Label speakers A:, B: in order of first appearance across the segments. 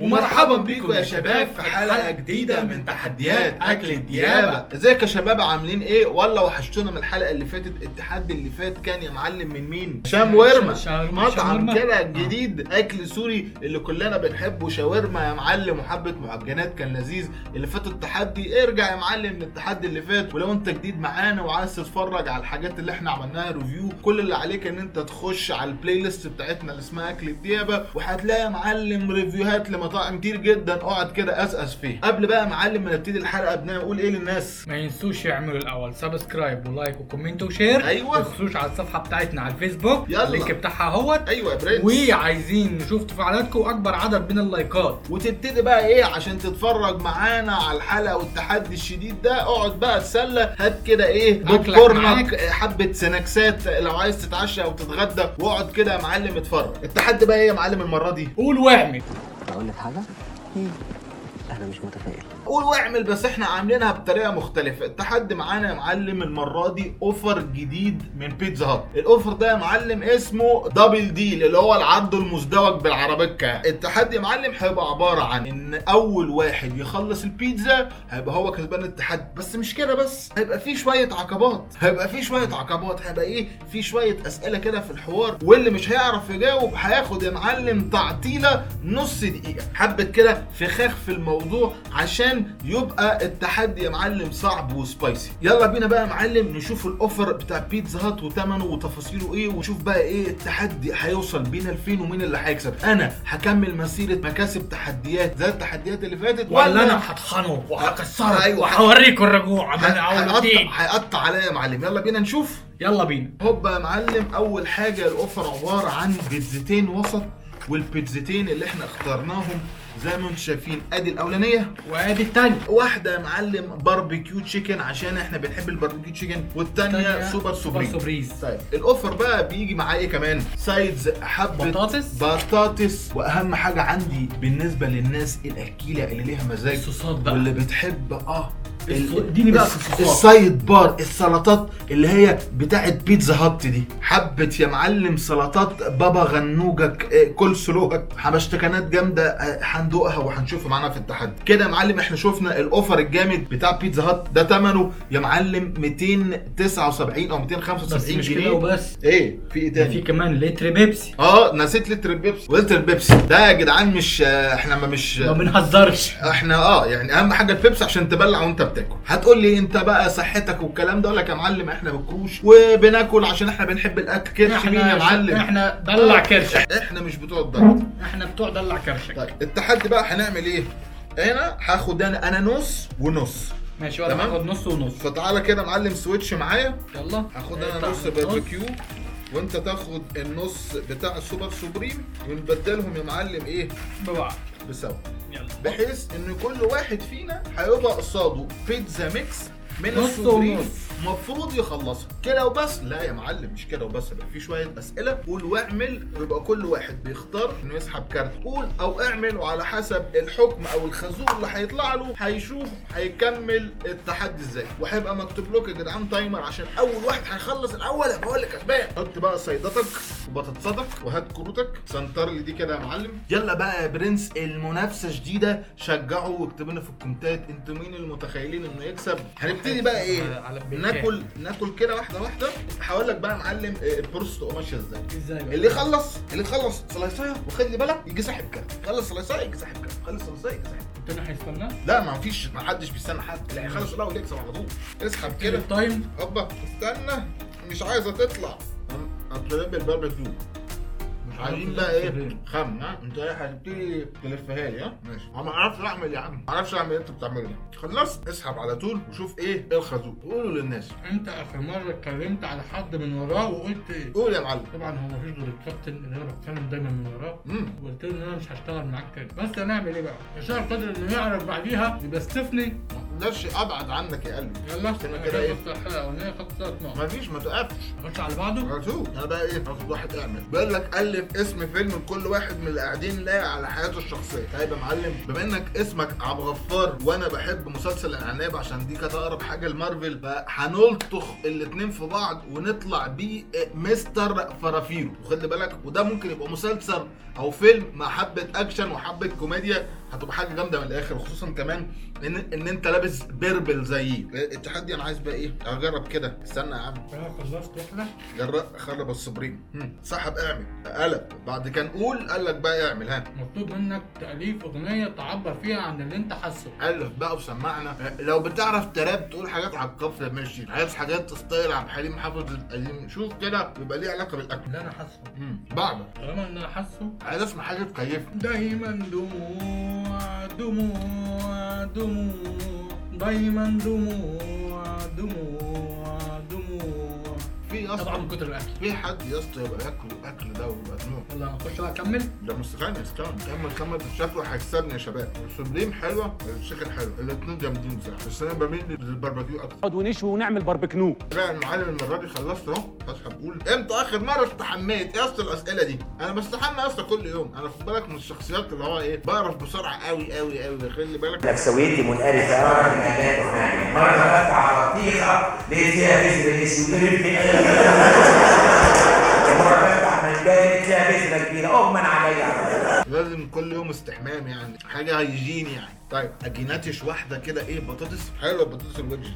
A: ومرحبا بيكم يا شباب في حلقه جديده من تحديات اكل الديابه
B: ازيك يا شباب عاملين ايه ولا وحشتونا من الحلقه اللي فاتت التحدي اللي فات كان يا معلم من مين شاورما
A: شاورما آه.
B: مطعم كده جديد اكل سوري اللي كلنا بنحبه شاورما يا معلم وحبه معجنات كان لذيذ اللي فات التحدي ارجع يا معلم للتحدي اللي فات ولو انت جديد معانا وعايز تتفرج على الحاجات اللي احنا عملناها ريفيو كل اللي عليك ان انت تخش على البلاي ليست بتاعتنا اللي اسمها اكل الديابه وهتلاقي يا معلم ريفيوهات لمطاعم كتير جدا اقعد كده اسقس فيها قبل بقى يا معلم ما نبتدي الحلقه بنقول ايه للناس
A: ما ينسوش يعملوا الاول سبسكرايب ولايك وكومنت وشير
B: أيوة.
A: ما تخشوش على الصفحه بتاعتنا على الفيسبوك
B: يلا.
A: اللينك بتاعها اهوت
B: ايوه يا برنس
A: وعايزين نشوف تفاعلاتكم واكبر عدد من اللايكات
B: وتبتدي بقى ايه عشان تتفرج معانا على الحلقه والتحدي الشديد ده اقعد بقى اتسلى هات كده ايه
A: أكلك
B: بوب كورنك
A: معاك.
B: حبه سناكسات لو عايز تتعشى او تتغدى واقعد كده يا معلم اتفرج التحدي بقى ايه يا معلم المره دي
A: قول واعمل
C: اقول لك حاجه انا مش متفائل
B: قول واعمل بس احنا عاملينها بطريقه مختلفه التحدي معانا يا معلم المره دي اوفر جديد من بيتزا هات الاوفر ده يا معلم اسمه دبل ديل اللي هو العرض المزدوج بالعربيكه التحدي يا معلم هيبقى عباره عن ان اول واحد يخلص البيتزا هيبقى هو كسبان التحدي بس مش كده بس هيبقى في شويه عقبات هيبقى في شويه عقبات هيبقى ايه في شويه اسئله كده في الحوار واللي مش هيعرف يجاوب هياخد يا معلم تعطيله نص دقيقه حبه كده فخاخ في الموضوع عشان يبقى التحدي يا معلم صعب وسبايسي يلا بينا بقى يا معلم نشوف الاوفر بتاع بيتزا هات وثمنه وتفاصيله ايه ونشوف بقى ايه التحدي هيوصل بينا لفين ومين اللي هيكسب انا هكمل مسيره مكاسب تحديات زي التحديات اللي فاتت
A: ولا انا هطحنه وهكسره
B: أيوة.
A: وهوريكم الرجوع من اول
B: هيقطع
A: وجديد
B: هيقطع عليا يا معلم يلا بينا نشوف
A: يلا بينا
B: هوبا يا معلم اول حاجه الاوفر عباره عن بيتزتين وسط والبيتزتين اللي احنا اخترناهم زي ما انتم شايفين ادي الاولانيه
A: وادي التاني
B: واحده يا معلم باربيكيو تشيكن عشان احنا بنحب الباربيكيو تشيكن والتانيه
A: التانية
B: سوبر سوبريم
A: سوبريز
B: طيب الاوفر بقى بيجي معاه ايه كمان سايدز حبه
A: بطاطس
B: بطاطس واهم حاجه عندي بالنسبه للناس الاكيله اللي ليها مزاج
A: الصوصات
B: واللي
A: بقى
B: بتحب اه
A: الص-
B: ال-
A: اديني بقى
B: الس-
A: في الصوصات.
B: السايد بار السلطات اللي هي بتاعت بيتزا هات دي حبة يا معلم سلطات بابا غنوجك آه، كل سلوكك حبشتكنات جامدة آه، هندوقها وهنشوفها معانا في التحدي كده يا معلم احنا شفنا الاوفر الجامد بتاع بيتزا هات ده ثمنه يا معلم 279 او 275
A: بس مش
B: جنيه
A: كده وبس
B: ايه في ايه
A: ده
B: تاني
A: في كمان لتر بيبسي
B: اه نسيت لتر بيبسي ولتر بيبسي ده يا جدعان مش آه، احنا ما مش
A: ما بنهزرش
B: احنا اه يعني اهم حاجه البيبس عشان تبلع وانت بتاكل هتقول لي انت بقى صحتك والكلام ده اقول لك يا معلم احنا بنكروش وبناكل عشان احنا بنحب الاكل كرش مين يا معلم اه.
A: احنا دلع كرشك
B: احنا مش بتوع الضغط
A: احنا بتوع دلع كرشك
B: طيب التحدي بقى هنعمل ايه هنا هاخد انا انا نص ونص
A: ماشي وانا
B: تمام.
A: هاخد نص ونص
B: فتعالى كده يا معلم سويتش معايا
A: يلا طيب،
B: هاخد انا
A: اقطع
B: نص
A: النص.
B: باربيكيو وانت تاخد النص بتاع السوبر سوبريم ونبدلهم يا معلم ايه
A: ببعض
B: بسوا
A: يلا
B: بحيث ان كل واحد فينا هيبقى قصاده بيتزا ميكس من
A: نص
B: السوبريم
A: ونص.
B: المفروض يخلصها كده وبس لا يا معلم مش كده وبس يبقى في شويه اسئله قول واعمل ويبقى كل واحد بيختار انه يسحب كارت قول او اعمل وعلى حسب الحكم او الخازوق اللي هيطلع له هيشوف هيكمل التحدي ازاي وهيبقى مكتوب لكم يا جدعان تايمر عشان اول واحد هيخلص الاول يبقى هو اللي كسبان حط بقى صيدتك وبطاطساتك وهات كروتك سنتر لي دي كده يا معلم يلا بقى يا برنس المنافسه شديده شجعوا واكتبوا لنا في الكومنتات انتوا مين المتخيلين انه يكسب هنبتدي بقى ايه
A: على البيكان.
B: ناكل ناكل كده واحده واحده هقول لك بقى يا معلم آه، البروسس تبقى ماشيه ازاي
A: ازاي بقى؟
B: اللي يخلص اللي يخلص سلايصايه وخد لي بالك يجي ساحب كارت خلص سلايصايه يجي ساحب كارت خلص سلايصايه يجي ساحب
A: التاني هيستنى
B: لا ما فيش ما حدش بيستنى حد لا يخلص الاول يكسب على طول اسحب كده
A: التايم
B: هوبا استنى مش عايزه تطلع هتلم بالباربيكيو مش عايزين بقى ايه خم ها انت ايه هتبتدي تلفها لي ها ماشي انا ما اعرفش اعمل يا عم ما اعرفش اعمل إيه انت بتعمله ده خلصت اسحب على طول وشوف ايه إيه الخازوق قولوا للناس
A: انت اخر مره اتكلمت على حد من وراه وقلت ايه
B: قول يا معلم
A: طبعا هو مفيش غير الكابتن اللي انا بتكلم دايما من وراه
B: امم
A: وقلت له إيه ان انا مش هشتغل معاك تاني بس هنعمل ايه بقى؟ هشام قادر انه يعرف بعديها يبقى استفني
B: اقدرش ابعد عنك يا قلبي
A: يلا
B: كده
A: كده
B: كده ايه؟
A: كده الحلقه الاولانيه خدت ثلاث نقط
B: مفيش ما توقفش
A: خدت على بعضه
B: هشوف انا بقى ايه هاخد واحد اعمل بقول لك الف اسم فيلم لكل واحد من اللي قاعدين لاقي على حياته الشخصيه طيب يا معلم بما انك اسمك عبد الغفار وانا بحب مسلسل العناب عشان دي كانت اقرب حاجه لمارفل فهنلطخ الاتنين في بعض ونطلع بيه مستر فرافيرو وخلي بالك وده ممكن يبقى مسلسل او فيلم مع حبه اكشن وحبه كوميديا هتبقى حاجه جامده من الاخر وخصوصا كمان ان ان انت لابس بيربل زيي التحدي انا عايز بقى ايه اجرب كده استنى يا عم
A: انا خلصت واحده
B: جراء خرب الصبرين سحب اعمل قلب بعد كان قول قال لك بقى اعمل ها
A: مطلوب منك تاليف اغنيه تعبر فيها عن اللي انت حاسه
B: الف بقى وسمعنا أه، لو بتعرف تراب تقول حاجات على الكفر ماشي عايز حاجات تستايل عبد الحليم حافظ القديم شوف كده يبقى ليه علاقه بالاكل
A: اللي انا حاسه
B: مم. بعد
A: طالما ان انا حاسه
B: عايز اسمع حاجه تكيفني
A: دايما دموع دموع دموع دايما دموع دموع دموع
B: في
A: طبعا
B: اصلا
A: من كتر الاكل
B: في حد يا اسطى يبقى ياكل الاكل ده ويبقى دموع
A: يلا نخش بقى اكمل
B: ده مستقيم مستقيم كمل كمل شكله هيكسبني يا شباب السبليم حلوه الشيكن حلوه الاثنين جامدين بصراحه بس انا بميل للباربيكيو اكتر
D: نقعد ونشوي ونعمل باربيكنو
B: لا يا معلم المره دي خلصت اهو اسحب قول امتى اخر مره استحميت ايه اصل الاسئله دي انا بستحمى يا اسطى كل يوم انا خد بالك من الشخصيات اللي هو ايه بقرف بسرعه قوي قوي قوي خلي بالك
E: نفسويتي منقرفه قوي في الحاجات يعني مره دخلت على بطيخه لقيت فيها بذر اسود مره دخلت على نجايه لقيت فيها بذره كبيره اغمى عليا
B: لازم كل يوم استحمام يعني حاجه هيجيني يعني طيب اجيناتش واحده كده ايه بطاطس حلوه بطاطس الوجه دي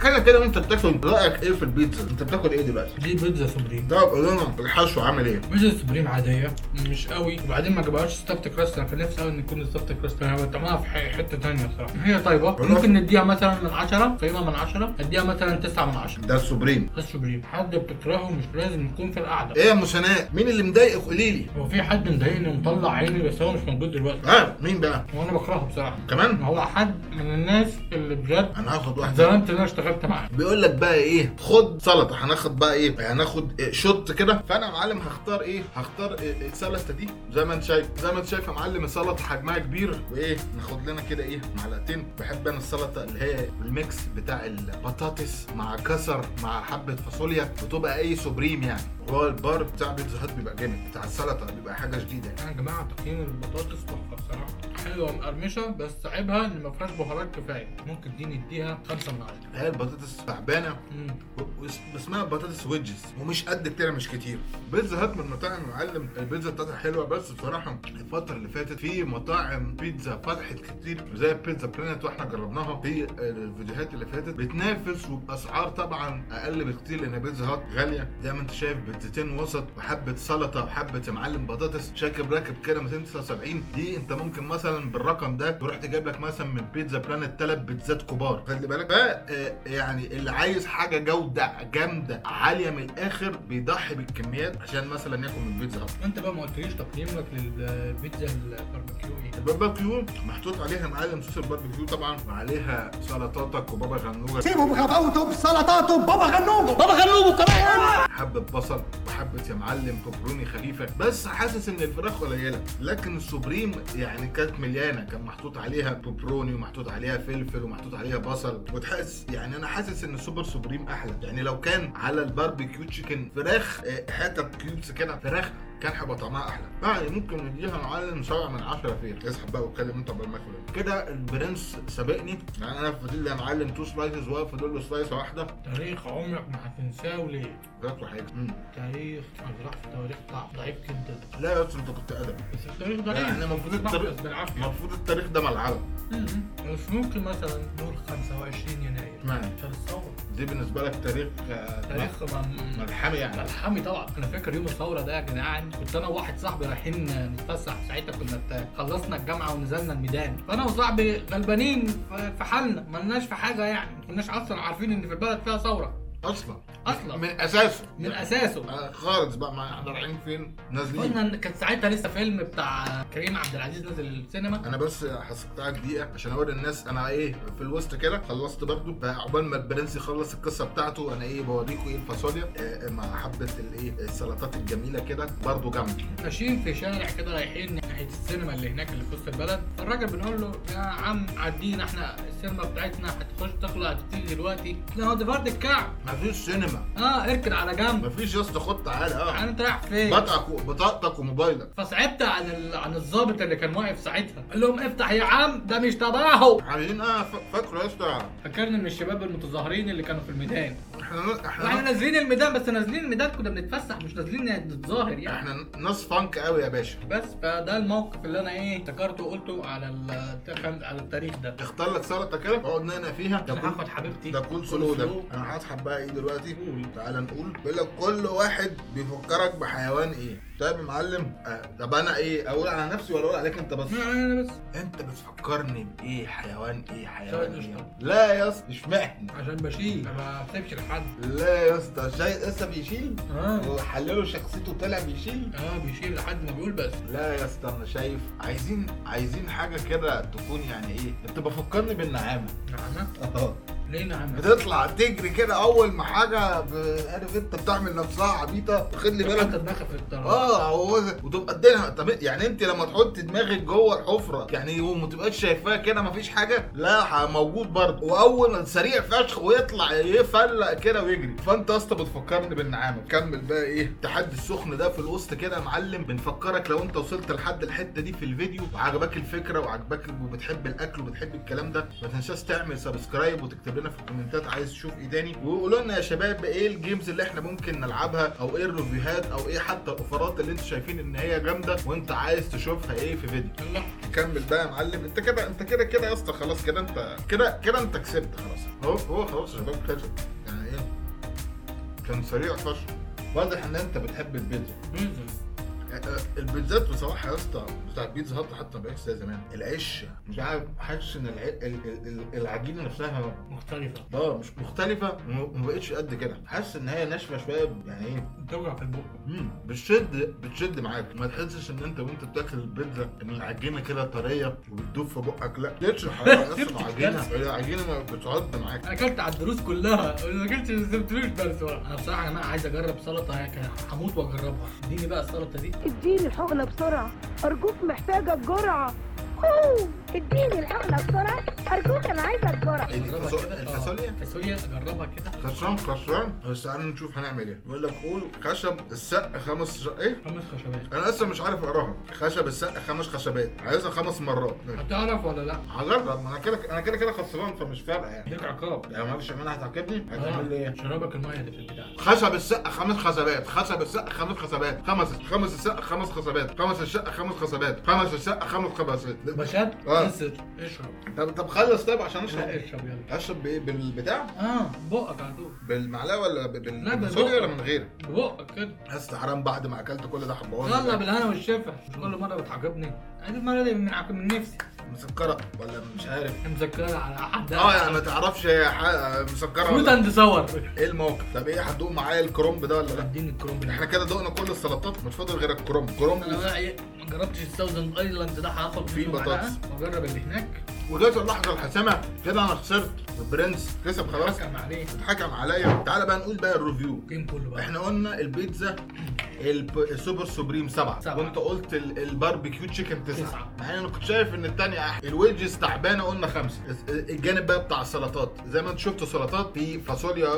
B: حاجه كده وانت بتاكل رايك ايه في البيتزا انت بتاكل ايه دلوقتي
A: دي بيتزا سوبريم
B: طب قول لنا الحشو عامل ايه
A: بيتزا سوبريم عاديه مش قوي وبعدين ما جابهاش ستافت كراست انا كان نفسي قوي ان يكون ستافت كراست انا طعمها في ح- حته ثانيه صراحه هي طيبه
B: والله.
A: ممكن نديها مثلا من 10 قيمه من 10 اديها مثلا 9 من 10
B: ده السوبريم
A: بس سوبريم حد بتكرهه مش لازم يكون في القعده
B: ايه يا ام سناء مين اللي مضايقك قولي لي
A: هو في حد مضايقني ومطلع عيني بس هو مش موجود دلوقتي
B: اه مين بقى
A: وانا بكرهه بصراحه
B: كمان
A: هو حد من الناس اللي بجد
B: انا هاخد واحده
A: اتظلمت ان انا اشتغلت معاه
B: بيقول لك بقى ايه خد سلطه هناخد بقى ايه هناخد إيه شوت كده فانا يا معلم هختار ايه هختار إيه السلطه دي زي ما انت شايف زي ما انت شايف يا معلم السلطه حجمها كبير وايه ناخد لنا كده ايه معلقتين بحب انا السلطه اللي هي الميكس بتاع البطاطس مع كسر مع حبه فاصوليا بتبقى اي سوبريم يعني هو البار بتاع بيتزا هات بيبقى جامد بتاع السلطه بيبقى حاجه جديده يعني.
A: يا جماعه تقييم البطاطس تحفه بصراحه حلوه مقرمشه بس عيبها ان ما فيهاش بهارات كفايه ممكن دي نديها 5 من 10
B: هي البطاطس تعبانه و- واس- واسمها بطاطس ويدجز ومش قد كده مش كتير بيتزا هات من مطاعم معلم البيتزا بتاعتها حلوه بس بصراحه الفتره اللي فاتت في مطاعم بيتزا فتحت كتير زي بيتزا بلانت واحنا جربناها في الفيديوهات اللي فاتت بتنافس وباسعار طبعا اقل بكتير لان بيتزا هات غاليه زي ما انت شايف بيتزتين وسط وحبه سلطه وحبه يا معلم بطاطس شاكب راكب كده 279 دي انت ممكن مثلا بالرقم ده تروح تجيب لك مثلا من بيتزا بلانت ثلاث بيتزات كبار خلي بالك ف آه، يعني اللي عايز حاجه جوده جامده عاليه من الاخر بيضحي بالكميات عشان مثلا ياكل من بيتزا هات
A: انت بقى ما قلتليش تقييمك للبيتزا الباربيكيو ايه؟
B: الباربيكيو محطوط عليها معالم صوص الباربيكيو طبعا وعليها سلطاتك وبابا غنوجه
F: سيبهم غباوتهم سلطاتهم بابا غنوجه بابا غنوجه كمان
B: حبة بصل وحبة يا معلم بيبروني خفيفة بس حاسس ان الفراخ قليلة لكن السوبريم يعني كانت مليانة كان محطوط عليها بيبروني ومحطوط عليها فلفل ومحطوط عليها بصل وتحس يعني انا حاسس ان السوبر سوبريم احلى يعني لو كان على الباربيكيو تشيكن فراخ آه، حتت كيوبس كده فراخ كان هيبقى طعمها احلى يعني ممكن نديها معلم 7 من 10 فيها اسحب بقى واتكلم انت قبل ما اكل كده البرنس سابقني يعني انا فاضل لي يا معلم 2 سلايسز وهو فاضل له سلايسه واحده
A: تاريخ عمرك ما هتنساه وليه؟
B: جات له حاجه مم.
A: تاريخ انا راح في تاريخ ضع- ضعيف جدا
B: لا يا اسطى انت كنت ادبي
A: بس التاريخ ضعيف
B: يعني المفروض التاريخ
A: بحبس بالعافيه
B: المفروض التاريخ ده ملعبك
A: مم. بس ممكن مثلا نقول 25 يناير
B: اشمعنى؟
A: شهر الثوره
B: دي بالنسبه لك تاريخ آه،
A: نعم. تاريخ ما-
B: ملحمي يعني
A: ملحمي طبعا انا فاكر يوم الثوره ده يا جدعان كنت انا وواحد صاحبي رايحين نتفسح ساعتها كنا بت- خلصنا الجامعه ونزلنا الميدان فانا وصاحبي غلبانين ف- في حالنا مالناش في حاجه يعني ما كناش اصلا عارفين ان في البلد فيها ثوره
B: اصلا
A: اصلا
B: من اساسه
A: من اساسه
B: آه، خالص بقى ما احنا رايحين فين نازلين
A: قلنا إن كان ساعتها لسه فيلم بتاع كريم عبد العزيز نازل السينما
B: انا بس حسبتها دقيقه عشان اوري الناس انا ايه في الوسط كده خلصت برضو فعقبال ما البرنس يخلص القصه بتاعته انا ايه بوريكم ايه الفاصوليا آه، مع حبه الايه السلطات الجميله كده برضو جامده
A: ماشيين في شارع كده رايحين ناحيه السينما اللي هناك اللي في وسط البلد فالراجل بنقول له يا عم عدينا احنا السينما بتاعتنا هتخش تطلع كتير دلوقتي ده هو ديفارد الكعب
B: مفيش سينما
A: اه اركن على جنب
B: مفيش يا اسطى خد تعالى اه
A: انا انت رايح فين
B: بطاقتك بطاقتك وموبايلك
A: فصعبت عن ال... عن الظابط اللي كان واقف ساعتها قال لهم افتح يا عم ده مش تبعهم
B: عايزين اه ف- فاكره يا اسطى
A: فكرني من الشباب المتظاهرين اللي كانوا في الميدان
B: احنا
A: احنا
B: احنا
A: نازلين الميدان بس نازلين الميدان كنا بنتفسح مش نازلين نتظاهر يعني
B: احنا ناس فانك قوي يا باشا
A: بس فده الموقف اللي انا ايه افتكرته وقلته على ال... على التاريخ ده
B: اختار لك سلطه كده اقعد نقنق فيها
A: انا هاخد حبيبتي
B: ده كل سولو ده
A: سولو.
B: انا هسحب بقى ايه دلوقتي تعالى نقول بيقول لك كل واحد بيفكرك بحيوان ايه طيب يا معلم آه، طب انا ايه اقول على نفسي ولا اقول عليك انت بس
A: لا، انا بس
B: انت بتفكرني بايه حيوان ايه حيوان
A: شاهد
B: ايه
A: قشطة.
B: لا يا اسطى اشمعنى
A: عشان بشيل ما بسيبش لحد
B: لا يا اسطى شايف لسه بيشيل
A: اه.
B: وحلله شخصيته طلع بيشيل
A: اه بيشيل لحد ما بيقول بس
B: لا يا اسطى انا شايف عايزين عايزين حاجه كده تكون يعني ايه انت بفكرني بالنعامه
A: نعمة
B: اه
A: ليه نعمة
B: بتطلع تجري كده اول ما حاجه ب- عارف انت بتعمل نفسها عبيطه خد لي
A: انت
B: بالك
A: دماغك في الطرف
B: اه هو وتبقى الدنيا طب يعني انت لما تحط دماغك جوه الحفره يعني وما تبقاش شايفاها كده مفيش حاجه لا ه- موجود برضه واول سريع فشخ ويطلع يفلق كده ويجري فانت يا اسطى بتفكرني بالنعامه كمل بقى ايه التحدي السخن ده في الوسط كده يا معلم بنفكرك لو انت وصلت لحد الحته دي في الفيديو وعجبك الفكره وعجبك وبتحب الاكل وبتحب الكلام ده ما تنساش تعمل سبسكرايب وتكتب لنا في الكومنتات عايز تشوف ايه تاني وقولوا لنا يا شباب ايه الجيمز اللي احنا ممكن نلعبها او ايه الريفيوهات او ايه حتى الاوفرات اللي انتوا شايفين ان هي جامده وانت عايز تشوفها ايه في فيديو
A: يلا
B: كمل بقى يا معلم انت كده انت كده كده يا اسطى خلاص كده انت كده كده انت كسبت خلاص هو هو خلاص يا شباب كسب يعني ايه كان سريع فشخ واضح ان انت بتحب البيتزا
A: بيزل
B: يعني البيتزات بصراحه يا اسطى بتاع بيتزا هات حتى ما بقتش زي زمان العيش مش عارف حاسس ان الع- ال- ال- ال- العجينه نفسها
A: مختلفة
B: اه مش مختلفه وما بقتش قد كده حاسس ان هي ناشفه شويه يعني ايه
A: بتوجع في البق
B: مم، بتشد بتشد معاك ما تحسش ان انت وانت بتاكل البيتزا ان العجينه كده طريه وبتدوب في بقك لا تشرح الحرارة يا اسطى العجينه هي العجينه ما بتعض معاك
A: انا اكلت على الدروس كلها ما اكلتش ما سبتلوش درس ولا انا بصراحه يا جماعه عايز اجرب سلطه يعني كان هموت واجربها اديني بقى السلطه دي
D: اديني الحقنة بسرعة أرجوك محتاجة الجرعة أوه اديني الحقنة بسرعة أرجوك أنا عايزة الجرعة
B: ايه دي
A: اجربها
B: فاصو-
A: كده آه،
B: الفاصوليا
A: الفاصوليا اجربها كده
B: خشم خشم بس تعالى نشوف هنعمل ايه بيقول لك قول خشب السق خمس ش- ايه
A: خمس خشبات
B: انا لسه مش عارف اقراها خشب السقا خمس خشبات عايزها خمس مرات
A: هتعرف ولا لا
B: هجرب ما انا كده انا كده كده خسران فمش فارقه يعني
A: ليك عقاب
B: لو ما فيش منها هتعاقبني
A: آه،
B: هتعمل لي ايه
A: شرابك الميه اللي في البتاع
B: خشب السقا خمس خشبات خشب السقا خمس خشبات خمس خمس السقا خمس خشبات خمس الشقه خمس خشبات خمس الشقه خمس خشبات
A: بشد
B: آه.
A: انسر اشرب
B: طب طب خلص طيب عشان
A: لا
B: اشرب
A: اشرب يلا
B: اشرب بايه بالبتاع
A: اه بقك على طول
B: بالمعلقه ولا
A: لا،
B: بال-
A: بالبق.
B: بالسوري ولا من غيرها
A: بقك كده
B: بس حرام بعد ما اكلت كل ده هبوظ
A: يلا
B: الأكل.
A: بالهنا والشفا مش كل مره بتعجبني انا المره دي من عك- من نفسي
B: مسكره ولا مش عارف
A: مذكره على احد
B: اه يعني ما تعرفش هي ح- مسكره
A: فروت
B: ولا
A: اند صور
B: ايه الموقف طب ايه هتدوق معايا الكرومب ده ولا لا
A: اديني الكروم
B: احنا كده دقنا كل السلطات مش فاضل غير الكرومب كرومب
A: انا بقى ايه ما جربتش الساوزن ايلاند ده هاخد
B: في
A: منه
B: بطاطس.
A: معلقة واجرب اللي هناك
B: وجات اللحظه الحاسمه كده انا خسرت البرنس كسب خلاص
A: حكم عليه
B: اتحكم عليا تعالى بقى نقول بقى الريفيو
A: الجيم كله بقى
B: احنا قلنا البيتزا الب- السوبر سوبريم سبعة,
A: سبعة.
B: وانت قلت ال- الباربيكيو تشيكن تسعة
A: تسعة.
B: يعني انا كنت شايف ان التانية احلى الويدجز تعبانة قلنا خمسة الس- الجانب بقى بتاع السلطات زي ما انت شفت سلطات في فاصوليا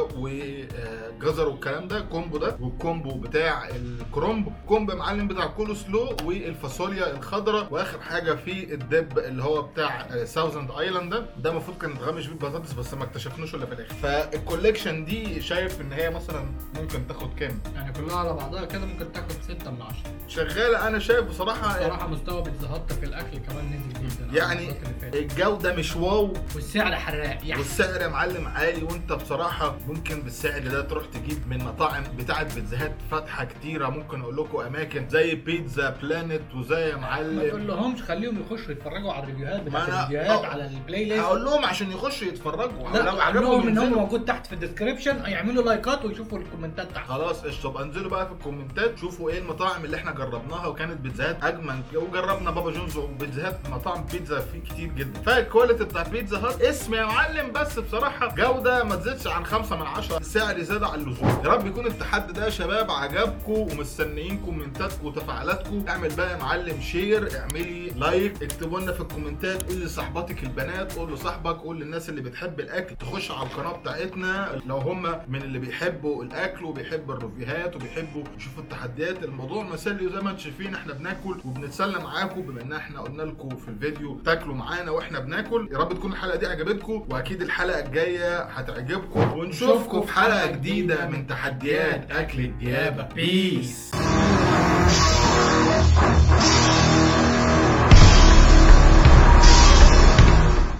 B: وجزر والكلام ده كومبو ده والكومبو بتاع الكرومب كومبو يا معلم بتاع كول سلو والفاصوليا الخضراء واخر حاجة في الدب اللي هو بتاع ساوزند ايلاند ده ده المفروض كان متغمش بيه البطاطس بس ما اكتشفناش الا في الاخر فالكوليكشن دي شايف ان هي مثلا ممكن تاخد كام
A: يعني كلها على بعضها كده ممكن تاخد 6 من 10
B: شغاله انا شايف بصراحه
A: بصراحه مستوى بيتزا هت في الاكل كمان نزل جدا
B: آه،
A: عن
B: يعني
A: المرات اللي فاتت.
B: الجوده مش واو
A: والسعر حراق يعني
B: والسعر يا معلم عالي وانت بصراحه ممكن بالسعر ده تروح تجيب من مطاعم بتاعه بيتزاهات فاتحه كتيره ممكن اقول لكم اماكن زي بيتزا بلانت وزي يا
A: ما تقول
B: معلم
A: لهمش خليهم يخشوا يتفرجوا على الريفيوهات بتاعت
B: ما أنا-
A: الفيديوهات
B: آه.
A: على البلاي ليست
B: هقول لهم عشان يخشوا يتفرجوا
A: لا
B: لو
A: اقول لهم ان هم
B: ينزلوا.
A: موجود تحت في الديسكربشن يعملوا لايكات ويشوفوا الكومنتات تحت
B: خلاص قشطه بقى انزلوا بقى في الكومنتات فاتت شوفوا ايه المطاعم اللي احنا جربناها وكانت بيتزاهات اجمل وجربنا بابا جونز وبيتزاهات مطاعم بيتزا فيه كتير جدا فالكواليتي بتاعت بيتزا هات اسم يا معلم بس بصراحه جوده ما تزيدش عن 5 من 10 السعر زاد عن اللزوم يا رب يكون التحدي ده يا شباب عجبكم ومستنيين كومنتاتكم وتفاعلاتكم اعمل بقى يا معلم شير اعملي لايك اكتبوا لنا في الكومنتات قول لصاحباتك البنات قول لصاحبك قول للناس اللي بتحب الاكل تخش على القناه بتاعتنا لو هم من اللي بيحبوا الاكل وبيحبوا الريفيوهات وبيحبوا يشوفوا التحديات الموضوع مسلي وزي ما انتم شايفين احنا بناكل وبنتسلى معاكم بما ان احنا قلنا لكم في الفيديو تاكلوا معانا واحنا بناكل يا رب تكون الحلقه دي عجبتكم واكيد الحلقه الجايه هتعجبكم ونشوفكم في حلقه جديده من تحديات اكل الديابه بيس